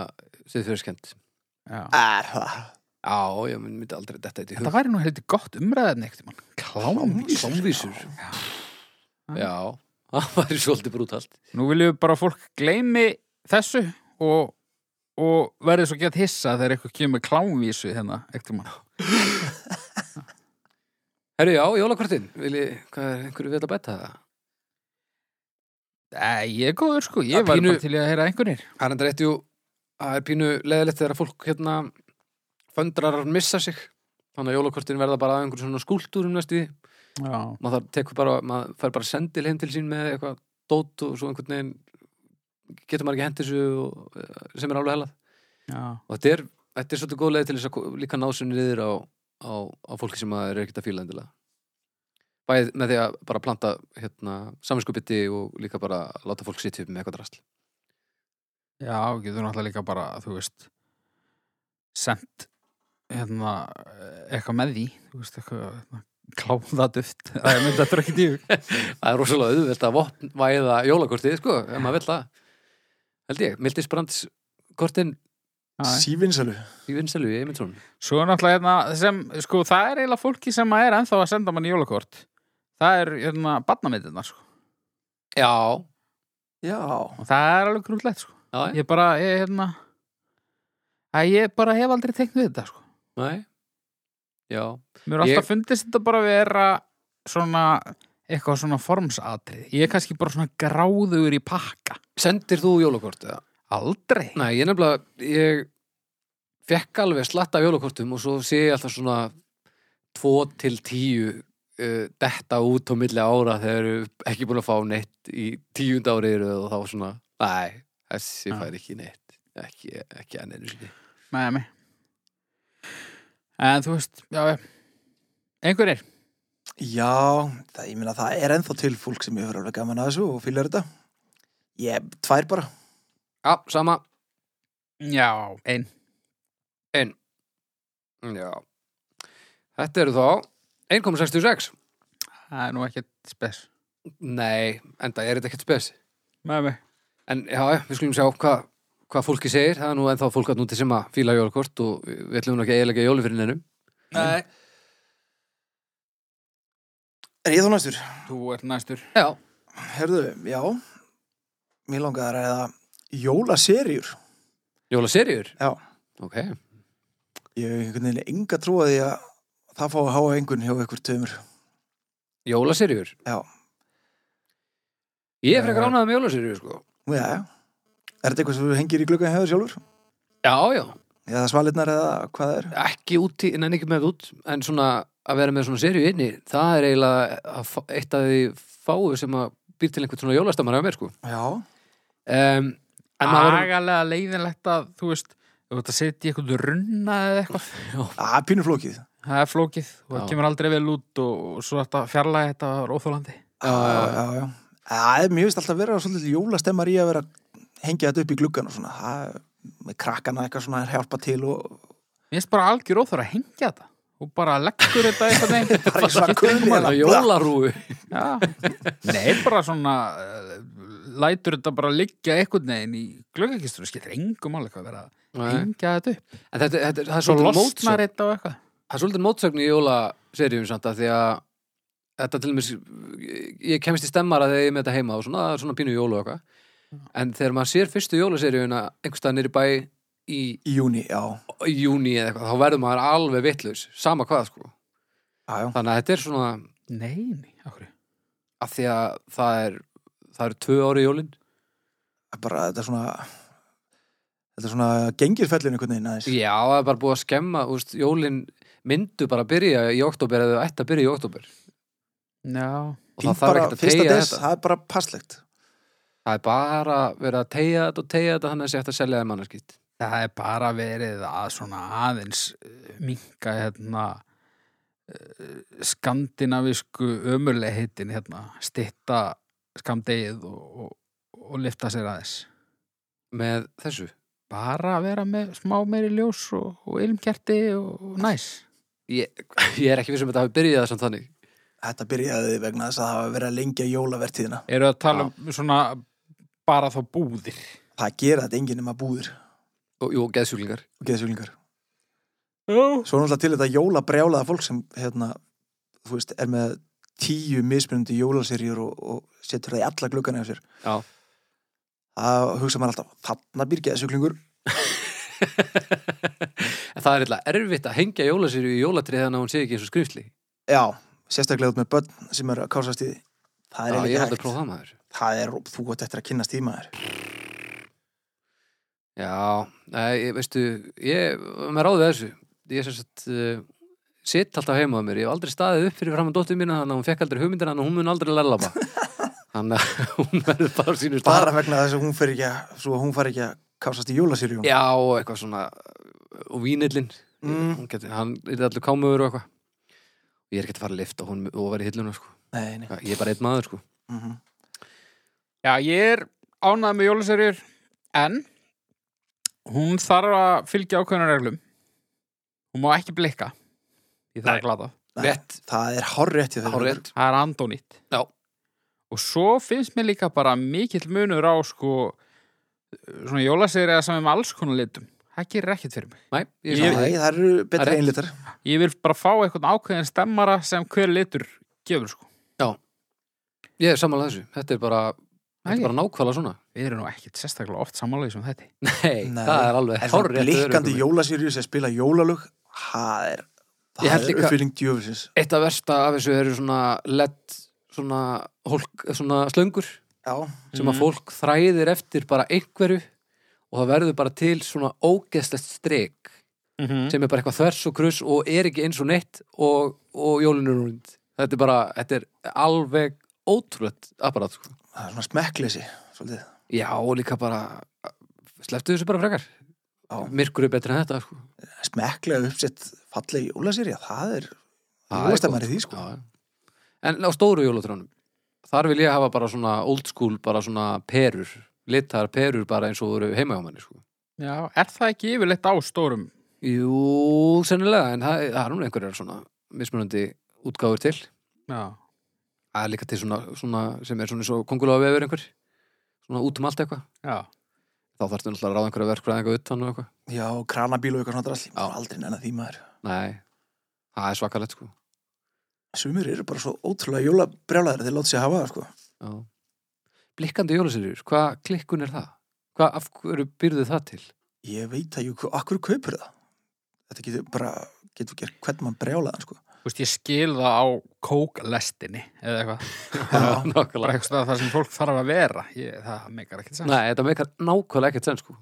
A: siðfjörskend
B: Já
C: Er það?
A: Já, ég myndi aldrei detta þetta í
B: Þetta
A: hug
B: væri nú heldur gott umræðan eitt mann. Klámvís.
A: Klámvísur
B: Já.
A: Já, það væri svolítið brútalt
B: Nú viljum við bara að fólk gleymi þessu og, og verði svo gett hissa þegar eitthvað kemur með klámvísu hérna eitt mann.
A: Herru, já, jólakortin, vilji, hvað er einhverju við að bæta það?
B: Æ, ég er góður sko, ég
A: Það
B: var
A: pínu-
B: bara til í að heyra einhvernir
A: Það er enda rétt jú, það er pínu leðilegt þegar fólk hérna föndrar missa sig þannig að jólakortin verða bara að einhverjum svona skúltúrum næstu því
B: Já,
A: maður þarf tekur bara, maður fær bara sendil heim til sín með eitthvað dót og svo einhvern veginn getur maður ekki hendur þessu og, eh, sem er alveg helað
B: já,
A: og þetta er, þetta er svolítið góð leið til þess að ko- líka ná sér niður á, á, á fólki sem maður er ekkert að fíla endilega bæð með því að bara planta hérna, saminskupiti og líka bara láta fólk sitja upp með eitthvað drasl
B: já, getur náttúrulega líka bara, þú veist sent hérna, eitthvað með því þú veist, eitthvað hérna, kláðaduft það er mynd að drökkið í
A: það er rosalega auðvelt að vopn væða jólakortið sko, ef maður vill það held ég, Mildis Brands kortin
C: Sívinsalu
A: í vinselu í Eymundsson
B: Svo er náttúrulega hérna, sem, sko, það er eiginlega fólki sem er ennþá að senda manni jólakort það er, hérna, barnamyndirnar sko.
A: já,
C: Já,
B: og það er alveg grútlegt, sko
A: já,
B: ég bara, ég, hérna að ég bara hef aldrei teknið þetta, sko
A: nei já,
B: Mér er
A: Ég-
B: alltaf fundist þetta bara vera svona, eitthvað svona formsatrið. Ég er kannski bara svona gráður í pakka.
A: sendir þú jólakort eða?
B: Aldrei.
A: Nei, ég nefnilega, ég fekk alveg slatta af jólakortum og svo sé ég alltaf svona 2 til 10 uh, detta út á milli ára þegar eru ekki búin að fá neitt í tíund ári eru og þá svona, næ, þessi
B: Já.
A: fær ekki neitt, ekki, ekki enn einu sinni.
B: Nei, nei. En þú veist, já, já. einhverjir.
C: já það, ég meina það er ennþá til fólk sem ég hefur alveg gaman að þessu og fylgir þetta Ég, tvær bara
A: Já, sama,
B: Já, einn.
A: já. Þetta eru þá 1,66.
B: Það er nú ekkert spes.
A: Nei, enda er þetta ekkert spes.
B: Nei, nei.
A: En já, já, við skulum sjá hvað hvað fólki segir, það er nú ennþá fólk að núti sem að fíla jólakort og við ætlum nú ekki að eiginlega jóli fyrir neinum.
B: Nei.
C: Er ég þá næstur?
B: Þú ert næstur.
A: Já,
C: Herðu, já Mér langaði að ræða jólaserjur
A: Jólaserjur?
C: Já.
A: Ok,
C: Ég hef einhvern veginn enga trúa því að það fá að háa engun hjá ykkur tömur
A: jólaserjur?
C: Já.
A: Ég er frekar ánægð með jólaserjur, sko.
C: Já, já Er þetta eitthvað sem þú hengir í gluggan hjá þér sjálfur?
A: Já, já.
C: Eða svalirnar eða hvað það er?
A: Ekki úti, en ekki með út, en svona að vera með svona serju inni, það er eiginlega að fá- eitt af því fáu sem að býr til einhvern svona jólastamara á mér, sko.
C: Já,
A: Um, en maður verður...
B: Agalega leiðinlegt að, þú veist, þú veist að setja í eitthvað runna eða eitthvað.
C: að pínuflókið
B: Það er flókið og það
A: Já.
B: kemur aldrei vel út og, og svo þetta fjarlægi þetta er óþólandi.
C: Já, já, já, já. Það er mjög veist alltaf vera svolítið jólastemmar í að vera að hengja þetta upp í gluggan og svona, það með krakkana eitthvað svona er hjálpa til og
B: Mér finnst bara algjör óþóra að hengja þetta og bara leggur þetta eitthvað neginn
C: bara ekki svona kunni
A: Maður jólarúi
B: Nei, bara svona uh, lætur þetta bara liggja eitthvað neginn í glöggakistur og skilur engum alveg hvað vera að
A: Nei.
B: hengja þetta upp
A: En þetta, þetta, er- það er
B: Svo
A: svolítið mótsögn
B: losnar þetta og eitthvað
A: Það er svolítið mótsögn í jólaserjum samt að því að þetta til og með ég kemst í stemmara þegar ég er með þetta heima og svona, það er svona pínu jólu og eitthvað en þegar maður sér fyrstu jólaserjuna einhverstaðan er í bæ í,
C: Í júni, já,
A: í júni eða eitthvað þá verður maður alveg vitlaus, sama hvað sko
C: já, já.
A: þannig að þetta er svona
B: Nei, nei, okkur
A: að því að það er það eru tvö ári í jólin
C: Það er Bara þetta er svona, þetta er svona gengirfellin einhvern veginn aðeins.
A: Já, það er bara búið að skemma, úst, jólin myndu bara að byrja í oktober eða þau ætti að byrja í oktober
B: Já,
A: og það
C: Fínt
A: þarf
C: bara
A: ekkert að
C: fyrsta
A: tegja
C: des,
A: þetta
C: Það er bara passlegt.
A: Það er bara verið að tegja þetta og tegja þetta þannig að sé eftir að selja það mannarskitt.
B: það er bara verið að svona aðeins minka hérna eh, skandinavisku ömurleiheitin hérna, stitta skamdegið og, og, og lifta sér aðeins
A: Með þessu?
B: bara að vera með smá meiri ljós og, og ilmkerti og, og næs
A: Ég, ég er ekki vissum að þetta hafi byrjað samt þannig.
C: Þetta byrjaði vegna þess að það hafa verið að lengja jólavertíðina.
B: Eru að tala um svona bara þá búðir
C: Það gera þetta enginn nema búðir
A: Og, jú, geðsjúklingar.
C: og geðsvílingar.
B: Já,
C: Svo er náttúrulega til þetta jólabrjálaða fólk sem, hérna, þú veist, er með tíu mismunandi jólaserjur og, og setur það í alla gluggan eða sér.
A: Já.
C: Það hugsa maður alltaf, þarna býr geðsjúklingur.
A: En það er eitthvað erfitt að hengja jólasýru í jólatrið þannig að hún sé ekki eins og skrifli.
C: Já, sérstaklega út með börn sem eru að kásast í því.
A: Já,
C: Það er
A: ég
C: eiginlega
A: er alltaf að
C: ekki
A: prófa
C: hægt.
A: það maður.
C: það er, þú gott eftir að kynnast tímaður
A: Já, nei, ég- veistu, ég, maður ráði þessu. Ég sem sagt, uh, sitt alltaf heima á mér. Ég hef aldrei staðið upp fyrir fram að dóttir mína, þannig að hún fekk aldrei hugmyndina, þannig að hún mun aldrei lellaba. þannig að hún verður bara á sínu stað.
C: bara vegna þess að hún fer ekki að, svo að hún far ekki að kásast í jólasýrjum
A: Já, og eitthvað svona, og vínillin.
C: mm,
A: Hún geti, hann er allir kámuður og eitthvað. Ég er ekki að fara að lifta hún og vera í hilluna, sko.
C: nei, nei
A: Ég er bara einn maður, sko.
C: mm -hmm.
B: Já, ég er ánægð með jólaserjur en hún þarf að fylgja ákveðna reglum hún má ekki blikka ég
A: Nei.
B: þarf að glata
A: Rétt,
C: það er hárrétt í þau
A: hár rétt.
B: það er andónýtt
A: Já.
B: og svo finnst mér líka bara mikill munur á sko svona jólaserja sem er með alls konar litum það gerir ekkert fyrir mig
A: Nei, ég er
B: Ég-
A: sammála.
C: nei, það eru
A: Það er
C: betri
A: rétt.
C: einlítar
B: ég vil bara fá eitthvað ákveðin stemmara sem hver litur gefur sko
A: Ég er samanlega þessu. Þetta er bara, þetta
B: Æi.
A: er bara nákvæmlega svona.
B: við erum nú ekkert sérstaklega oft samanlega sem þetta
A: Nei,
C: Nei.
A: það er alveg
C: en
A: hár
C: svona blikkandi jólasýrju sem spila jólalög það er,
A: Ég
C: það
A: held
C: er
A: líka-
C: uppfylling djöfisins
A: Eitt af versta af þessu eru svona lett svona, hólk, svona slöngur
C: já,
A: sem að fólk þræðir eftir bara einhverju og það verður bara til svona ógeðslegt strik
B: mm
A: sem er bara eitthvað þvers og krus og er ekki eins og neitt og, og jólinu rúnd þetta er bara, þetta er alveg ótrúlegt apparat sko.
C: það er svona smekkleysi svolítið
A: já og líka bara sleftu þessu bara frekar
C: Já.
A: myrkur er betri en þetta sko.
C: smekklega uppsett falleg jólasýrja það er
A: Það er
C: jólastemari
A: gott.
C: því sko
A: Já, já. En á stóru jólatrjónum Þar vil ég hafa bara svona old school bara svona perur, litar perur bara eins og þú eru heima hjá manni sko.
B: já, er það ekki yfirleitt á stórum
A: Jú, sennilega en það, það er núna einhverjar svona mismunandi útgáfur til
B: já
A: Það er líka til svona, svona sem er svona eins og kongulega vefur einhver svona út um allt eitthvað
B: Já,
A: þá þarfstu náttúrulega að ráða einhverja verkfræðinga utan og eitthvað
C: já, kranabíl og eitthvað svona drasli
A: Já.
C: aldrei nennan því maður
A: Nei, það er svakalegt sko
C: sumir eru bara svo ótrúlega jólabrjálæðir þeir láta sér hafa það sko
A: Já. Blikkandi jólaserjur, hvað klikkun er það? Hvað, af hverju býrðu það til?
C: ég veit að ég, akkur kaupur það þetta getur bara, getur gert hvern mann brjálæðan sko
B: þú veist, ég skil það á kóklestinni eða eitthvað,
C: Já.
A: Nákvæmlega
B: bara eitthvað stað þar sem fólk þarf að vera ég, það meikar ekkert sann
A: Nei, þetta meikar nákvæmlega ekkert sen sko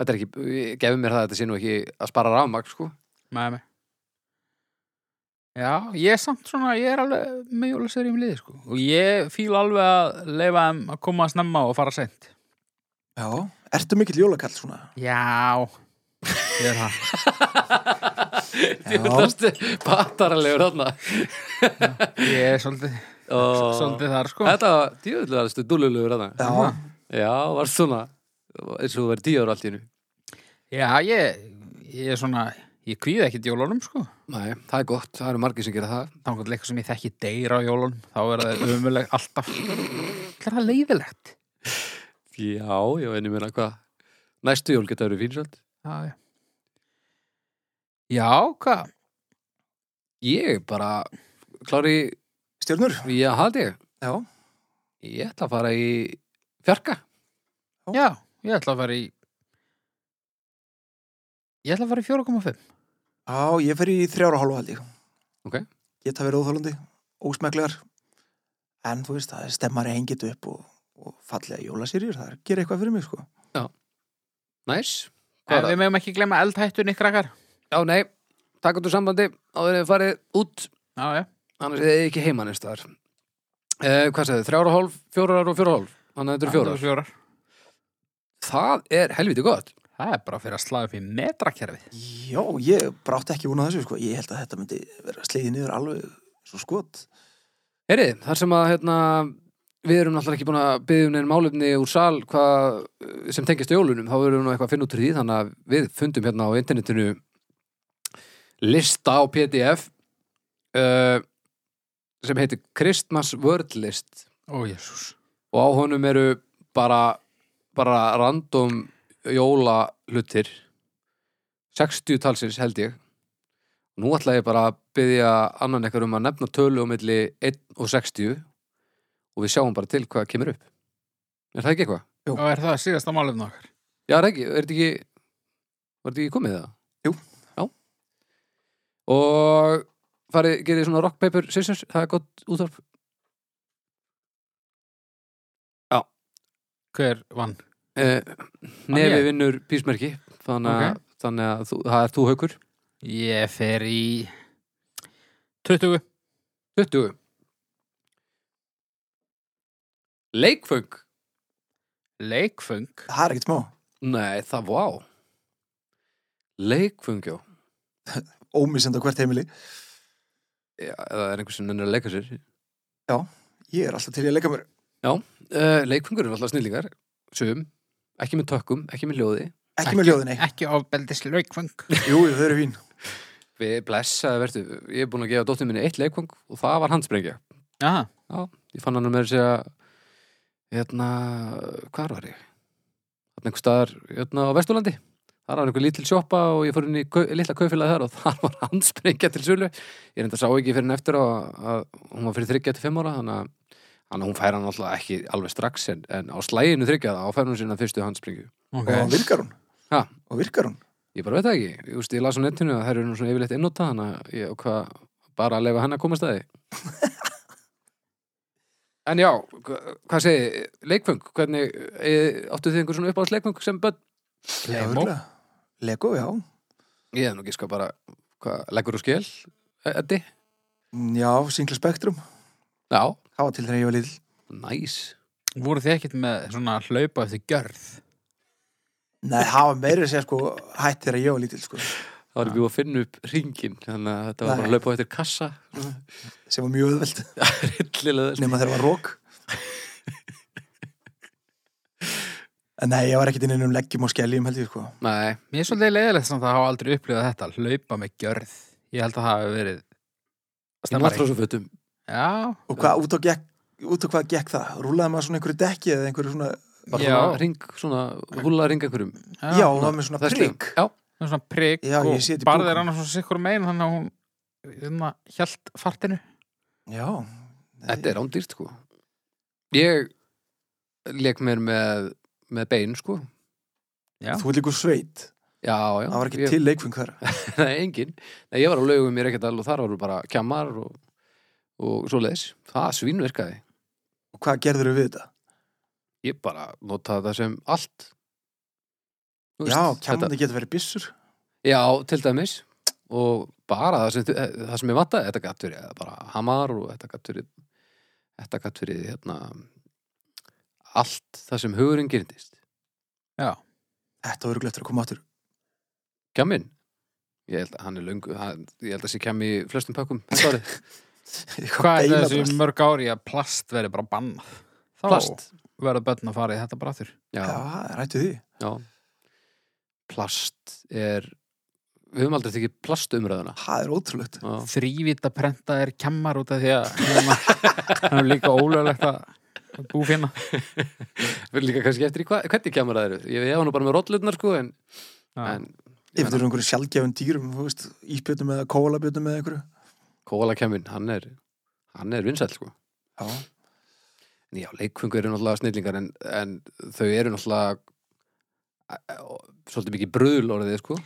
A: Þetta er ekki, ég gefi mér það að þetta sé nú ekki að spara rafmagn sko
B: Nei, nei. Já, ég er samt svona, ég er alveg með jólaserjum liði, sko og ég fíl alveg að leifa þeim að koma að snemma og fara seint
C: já, ertu mikill jólakall svona
B: Já, ég er það
A: Djúlastu pataralegur þarna
B: Ég er svolítið,
A: Svolítið
B: svolítið þar, sko
A: Þetta var djúlastu dúlulegur þarna
C: já,
A: Já, var svona eins og þú verið tíu ára allt í hennu
B: Já, ég, ég er svona, ég kvíða ekkert jólunum, sko
A: Nei, það er gott, það eru margir sem gera það
B: þá kannski eitthvað sem ég þekki deyra á jólunum þá er það umuleg alltaf Það er það leiðilegt
A: Já, já, en ég meina hvað Næstu jól geta verið fínsöld
B: Já, já. Já, hvað?
A: Ég bara, klári
C: stjörnur
A: Já, haldi ég
C: já,
A: Ég ætla að fara í fjarka
B: Já, ég ætla að fara í Ég ætla að fara í 4,5
C: já, ég fer í þrjára hálfa held ég
A: Ok.
C: geta verið óþólandi, ósmeklegar en þú veist, það er stemmari hengið upp og, og fallega jólasýrjur það er að gera eitthvað fyrir mig sko
A: Næs Hvað er
B: En
A: það?
B: Eh, við meðum ekki glemma eldhættunni, krakkar
A: Já, nei, takk út úr sambandi áður en þið farið út
B: Já, já,
A: annars er þið ekki heima neins staðar eh, Hvað sagði, þrjára og hálf, fjórar og fjórar og hálf Þannig að þetta eru
B: það er
A: fjórar
B: fjórar
A: Það er helviti gott
B: Það er bara fyrir að slaga upp í metrakerfið
C: Já, ég brátti ekki vona þessu sko. Ég held að þetta myndi vera slegið niður alveg svo skot
A: Herið, þar sem að hérna, við erum náttúrulega ekki búin að byggja um neinn málefni úr sal hvað, sem tengist jólunum, þá erum við nú eitthvað að finna út úr því þannig að við fundum hérna á internetinu lista á PDF uh, sem heitir Christmas Word List
B: Ó, jésús
A: og á honum eru bara, bara random jóla hlutir 60 talsins held ég nú ætla ég bara að byggja annan eitthvað um að nefna tölu á milli 1 og 60 og við sjáum bara til hvað kemur upp er það ekki eitthvað?
C: Jú.
B: Og er það síðasta málefni okkar
A: Já, er, ekki, er þetta ekki var þetta ekki komið það?
C: Jú.
A: Já og farið, gerið svona rock paper scissors, það er gott útvarp Já,
B: Hver vann?
A: Eh,
B: ég?
A: Nefi vinnur písmerki þannig að, þannig að þú, það er þú haukur
B: Ég fer í 20
A: 20 Leikföng
B: leikfung
C: Það er ekkert smá.
A: Nei, það vá Leikföng, já
C: Ómissend á hvert heimili.
A: Já, Það er einhver sem nennir að leika sér
C: Ég er alltaf til í að leika mér.
A: uh, Leikföngur eru alltaf snillingar Sum, ekki með tökkum, ekki með ljóði
C: Ekki, með ljóðinni.
B: Ekki ofbeldis leikfung
C: Jú, jú, þau eru fín.
A: Við blessaði verðu Ég er búin að gefa dóttir minni eitt leikföng og það var handsprengja
B: Aha,
A: Ég fann hann að meira að segja hérna, hvar var ég? Þannig einhver staðar hérna á Vesturlandi Þar var einhver lítil sjoppa og ég fór inn í kau, litla kaufélagi þar og þar var handsprengja til sölu Ég reynda sá ekki fyrir en eftir að, að hún var fyrir 35 ára þannig að, þannig að hún fær hann alltaf ekki alveg strax en, en á slæginu þryggja þá fær hún sinna fyrstu handsprengju
B: okay.
C: Og virkar hún.
A: Ha?
C: Og virkar hún.
A: Ég bara veit það ekki, ég, veist, ég las á netinu að það eru nú svona yfirleitt innóta þannig að ég hvað bara að lefa henn að komast að því En já, hva- hvað segi, leikfeng, hvernig, e, áttu þið einhver svona uppáðs leikfeng sem börn?
C: Já,
B: Lemo.
C: örugglega. Lego, já.
A: Ég hef nú gíska bara, hvað, leggur og skell, Eddi?
C: Já, Singla Spektrum.
A: Já,
C: Það var til þegar ég var lill.
A: næs nice.
B: Voru þið ekkert með svona hlaupa eftir gjörð?
C: Nei, það var meira að segja sko hætt þegar ég var lítill sko,
A: Það var við að finna upp ringin, þannig að þetta var bara að laupa á eftir kassa,
C: sem var mjög öðveld
A: rillilega,
C: nema þegar var rók En nei, ég var ekkert inn um leggjum og skelljum held ég sko
A: nei,
B: Mér er svolítið leiðilegt samt að hafa aldrei upplifað þetta hlaupa með gjörð Ég held að það hafi verið
A: í náttrósufötum,
B: Já,
C: Og hvað, út á, gekk, út á hvað gekk það? Rúlaði maður svona einhverju dekki eða einhverju svona
A: bara
B: Já.
A: svona ring, svona, húla ring einhverjum.
C: Já,
B: já.
C: það var með svona
A: Það er slegum.
C: prigg
A: Já,
B: Það er svona prik
C: Já, ég
B: og
C: sé þetta í
B: barðið
C: bókum.
B: er annars svona sikkur megin þannig að hún hérna, hjælt fartinu
C: Já,
A: Þetta er ándýrt sko Ég leik mér með, með bein sko
B: Já.
C: þú er líka úr sveit
A: Já, já
C: Það var ekki
A: ég,
C: til leikfeng þar
A: Nei, engin Nei, ég var á laugum mér ekkert alveg Þar voru bara kjammar og, og svo leðis Það svínverkaði
C: Og hvað gerður við þetta?
A: Ég bara notaði það sem allt Þú veist,
C: Já,
A: þetta,
C: kjámandi getur verið byssur
A: Já, til dæmis Og bara það sem, það sem ég vantaði Þetta gatt fyrir bara hamar og þetta gatt fyrir Þetta gatt fyrir hérna Allt það sem hugurinn gerindist
C: Þetta var örugglega eftir að koma áttur
A: Kjamin? Ég held að hann er löngu, hann, ég held að sé kjami í flestum pakkum. Þetta var þið.
B: Hvað er þessi mörg ári að plast verið bara bannað? Þá
A: Plast.
B: verður börn að fara í þetta bara aftur
A: Já,
C: Já, rættu því
A: já. Plast er, við höfum aldrei tekið plastumröðuna.
C: Það er ótrúlegt
A: Já,
B: Þrývita prenta er kemmar út af því að hérna, það er líka ólöglegt að búfinna
A: við líka kannski eftir í hvað, hvernig kjamar það eru? Ég hef hann bara með rollutnar sko, en, en
C: Ef þetta eru einhverju sjálfgefin dýrum, þú veist, íspjötum eða kólabjötum eða einhverju.
A: kóla kjamin, hann er, hann er vinsæll sko.
C: Já.
A: En Já, leikfengu eru náttúrulega snillingar en, en þau eru náttúrulega eh, svolítið mikið bröðl orðið sko.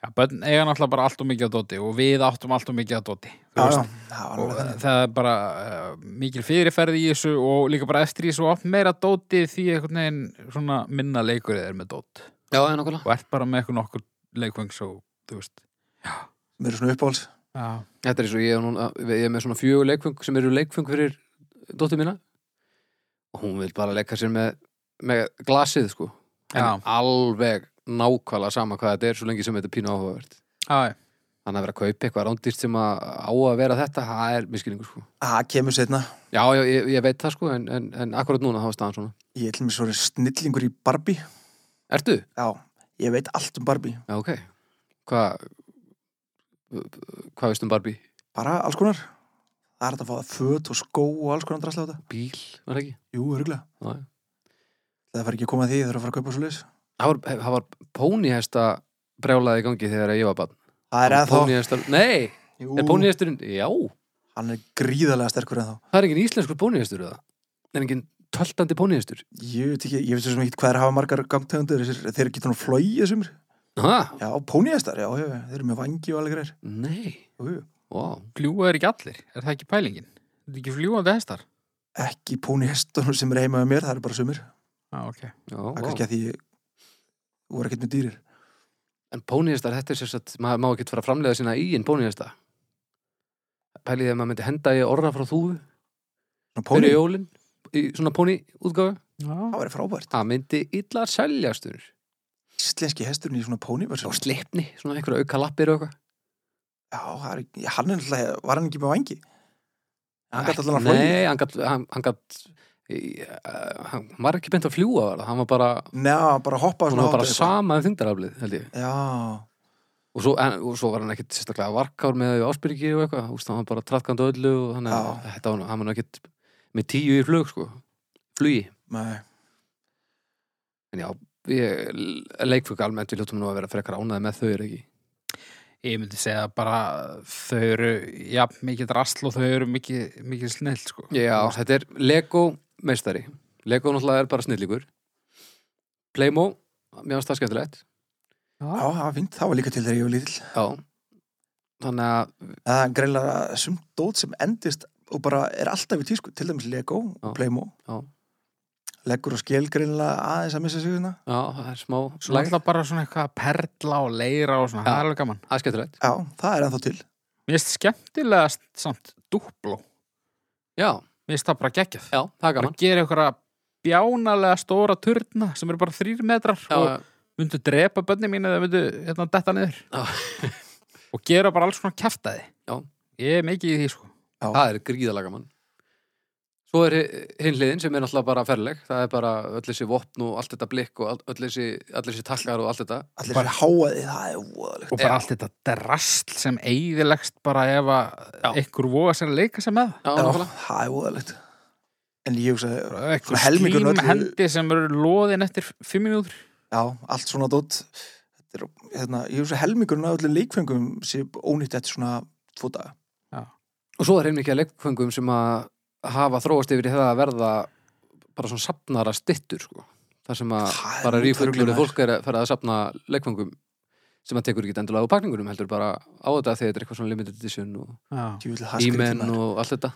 B: Já, börn eiga náttúrulega bara allt og mikið að dóti og við áttum allt og mikið að dóti
C: Já,
B: Þú
C: já,
B: veist,
C: eh, það var
B: og
C: alveg þannig.
B: það er bara uh, mikil fyrirferði í þessu og líka bara eftir í þessu og oft meira dóti því einhvern veginn svona minna leikurið er með dót
A: Já, en okkurlega.
B: og ert bara með eitthvað nokkur leikvöng svo, þú veist
C: Mér er svona uppáhals.
B: Já,
A: Þetta er eins og ég, á núna, ég er með svona fjögur leikfung sem eru leikfung fyrir dóttir mína og hún vil bara leika sér með, með glasið sko
B: Já.
A: en alveg nákvæmlega sama hvað þetta er svo lengi sem þetta er pínu áhugavert
B: já, já.
A: þannig að vera að kaupa eitthvað rándýrt sem að á að vera þetta, það er miskilningur sko
C: Það kemur setna.
A: Já, já ég, ég veit það sko en, en, en akkurat núna þá er staðan svona
C: Ég ætlum mér svona snillingur í Barbie.
A: Ertu?
C: Já, ég veit allt um Barbie.
A: Já, ok Hvað hvað veist um Barbie?
C: Bara alls konar. Það er hægt að fá það föt og skó og alls konar drasla á þetta.
A: Bíl, var það ekki?
C: Jú, öruglega.
A: Já, já.
C: Það fær ekki að koma að því, ég þarf að fara að kaupa svo leis.
A: Það var, það var pónihesta brjálaði í gangi þegar ég var barn
C: Það er eða þá.
A: Pónihestar, nei,
C: Jú,
A: er pónihesturinn Já,
C: hann er gríðarlega sterkur eða þá.
A: það er engin íslenskur pónihestur eða? Er engin töltandi pónihestur?
C: Ég veit ekki, ég veit svo sem ekki hvað er að hafa margar gangtegundir þessir, þeir geta nú flóið sumir.
A: Ha?
C: Já, póníðastar, já, já, já, þeir eru með vangi og alveg greir.
A: Nei,
C: Jú, jú.
A: vá
B: Fljúga er ekki allir, er það ekki pælingin? Þetta er ekki fljúandi hestar
C: Ekki póníðastunum sem er heima með mér, það eru bara sumir.
B: ah, ok.
A: Já,
C: Það er
A: vá.
C: kannski að því ég voru ekkert með dýrir.
A: En póníðistar, þetta er sérstætt, maður má ekki fara að framlega sína íinn póníðista. Pæliði að maður myndi henda í orra frá þúfu
C: Svona
A: fyrir
C: póni,
A: jólin, í svona póní útgáfu.
C: það væri frábært.
A: Það myndi illa að seljastur.
C: Íslenski hesturinn í svona póniversu.
A: Og sleipni, svona einhverja auka lappir og eitthvað.
C: Já, það er, já, hann er alltaf, var hann ekki með vangi? Hann gæti allan að flóið.
A: Nei, hann gat, hann, hann gat, í- eh, hann hann var ekki beint að fljúa, var það. hann var bara,
C: Nei, hann bara hoppaði
A: hann
C: svona
A: var bara
C: hátt eitthvað.
A: sama um þyngdaraflið, held ég.
C: Já,
A: Og svo, en, og svo var hann ekkit sérstaklega varkár með áspyrki og eitthvað, úst, hann var bara traðkand öllu og þannig að
C: Já.
A: þetta var nú- hann var nú ekkit með tíu í flug, sko, flugi.
C: nei.
A: En já, ég, leikfug almennt við ljótum nú að vera frekar ánaði með þau er ekki.
B: Ég myndi segja bara þau eru, já, mikið drasl og þau eru mikið, mikið snill, sko.
A: Já, þetta er Lego meistari. Lego náttúrulega er bara snillíkur. Playmo, mér finnst það skemmtilegt.
C: Já, það var fint, það var líka til þegar ég var lítill.
A: Já. Þannig að,
C: Það er greinlega sumt dót sem endist og bara er alltaf í tísku, til dæmis Lego
A: Já.
C: og Playmo.
A: Já.
C: Leggur og skil greinlega aðeins að missa sig hérna.
A: já, það er smá
B: Svo
A: slag.
B: alltaf bara svona eitthvað að perla og leira og svona,
A: Já.
B: það er alveg gaman.
A: Það er skemmtilegt.
C: Já, það er ennþá til.
B: Mér finnst skemmtilegast samt dúbló.
A: Já,
B: Mér finnst það bara geggjað.
A: já, það er
B: Bara
A: gaman.
B: gera einhverja bjánalega stóra turna sem eru bara þrýr metrar
A: Já,
B: og myndu drepa bönni mín eða myndu hérna, detta niður.
A: já,
B: Og gera bara alls svona kæftæði.
A: Já.
B: Ég er mikið í því, sko.
A: það er gríðalega gaman. Svo er hinn hliðin sem er náttúrulega bara ferleg. Það er bara öll þessi vopn og allt þetta blikk og all- öll þessi, öll þessi takkar og allt þetta.
C: Allir
B: Bara-
C: bara háaði, það er óðalegt.
B: Og bara
A: Já.
B: allt þetta drasl sem eigðilegst bara ef
A: Já.
B: að einhver voga sér að leika sér með.
A: Já,
C: Já,
A: nákvæmlega.
C: það er óðalegt. En ég hugsaði,
B: Og Einhver
C: Svona helmingurinn
B: slím
C: öllu-
B: hendi sem eru loðin eftir fimm mínútur.
C: já, allt svona dót. Þetta er, hérna, ég hugsaði helmingurinn af öllum leikfengum sem ónýtt eftir svona tvo daga.
A: Og svo er heilmikið að leikfengum sem að hafa þróast yfir í það að verða bara svona sapnara stittur sko. þar sem að
C: Það er
A: bara
C: nú
A: rífuglur
C: truflun,
A: og fólk er að fara að sapna leikfengum sem að tekur ekki endilega á pakningunum heldur bara á þetta þegar þetta er eitthvað svona limited edition og
B: Já.
C: Ég vil það
A: e-men
C: skrifna.
A: og allt þetta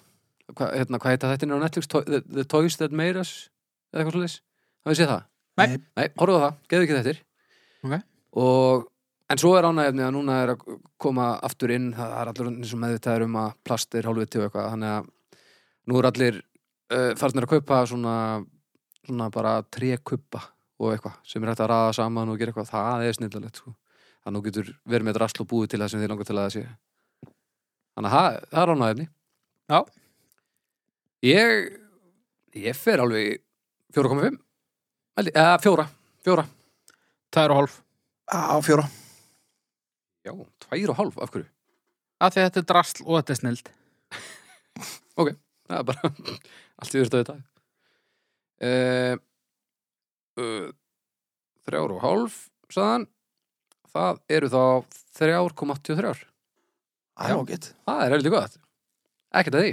A: Hva, hérna, hvað heita þetta á Netflix? To the, the Toys That Made Us eða eitthvað svolítið hafið þið séð það?
B: Nei.
A: Nei, horfðu á það, geðu ekki þettir
B: Ok.
A: og, En svo er ánægjafni að núna er að koma aftur inn það er allir eins og meðvitaður um að plast er hálfviti og eitthvað þannig að nú er allir uh, farnir að kaupa svona, svona bara trekubba og eitthvað sem er hægt að raða saman og gera eitthvað það er snillalegt sko. þannig að nú getur verið með drasl og búið til það sem þið langar til að það sé þannig að það- það er ánægjafni
B: Já.
A: Ég ég fer alveg í 4,5 Held ég- eða fjóra, fjóra
B: Tvær og hálf.
C: Á fjóra.
A: Já, tvær og hálf, af hverju?
B: Af því að þetta er drasl og þetta er snild.
A: Það er bara allt í þurftu þetta uh, uh, Þrjár og hálf sagðan Það eru þá 3,83
C: Það
A: Já.
C: er ágætt.
A: Það er heldur gott Ekkert að því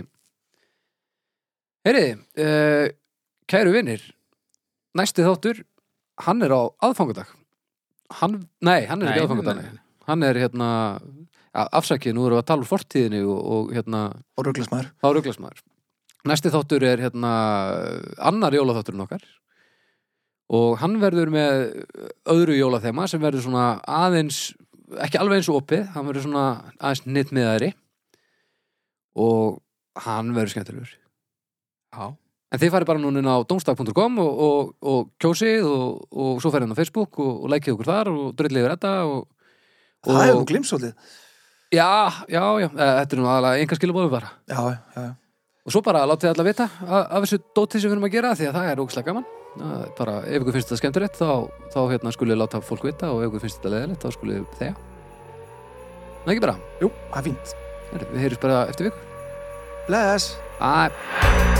A: Heyriði, uh, kæru vinnir Næsti þáttur Hann er á aðfangadag hann, Nei, hann er ekki aðfangadag nei. Hann er hérna ja, Afsakið, nú erum við að tala um fortíðinni og, og hérna
C: Og rugglasmaður.
A: þá rugglas maður næsti þáttur er hérna annar jólaþátturinn okkar og hann verður með öðru jólathema sem verður svona aðeins ekki alveg eins og opið, hann verður svona aðeins nýttmiðari og hann verður skemmtilegur
B: Já.
A: en þið farið bara núna inn á domstag.com og, og, og kjósið og, og svo farið hann á Facebook og, og lækið okkur þar og drullið yfir þetta og,
C: Það um hefur nú glimsólið.
A: já, já, já, eh, þetta er nú aðalega einhver skilabóðu bara
C: Já, já, já.
A: Og svo bara látið alla vita a- af þessu dóti sem við erum að gera því að það er ógislega gaman. Það er Bara ef ykkur finnst þetta skemmtilegt þá, þá hérna skulið láta fólk vita og ef ykkur finnst þetta leðilegt þá skulið þegar. Það ekki bara.
C: Jú, það er fínt.
A: Herru, Við heyrjum bara eftir viku.
C: Bless.
A: Æ.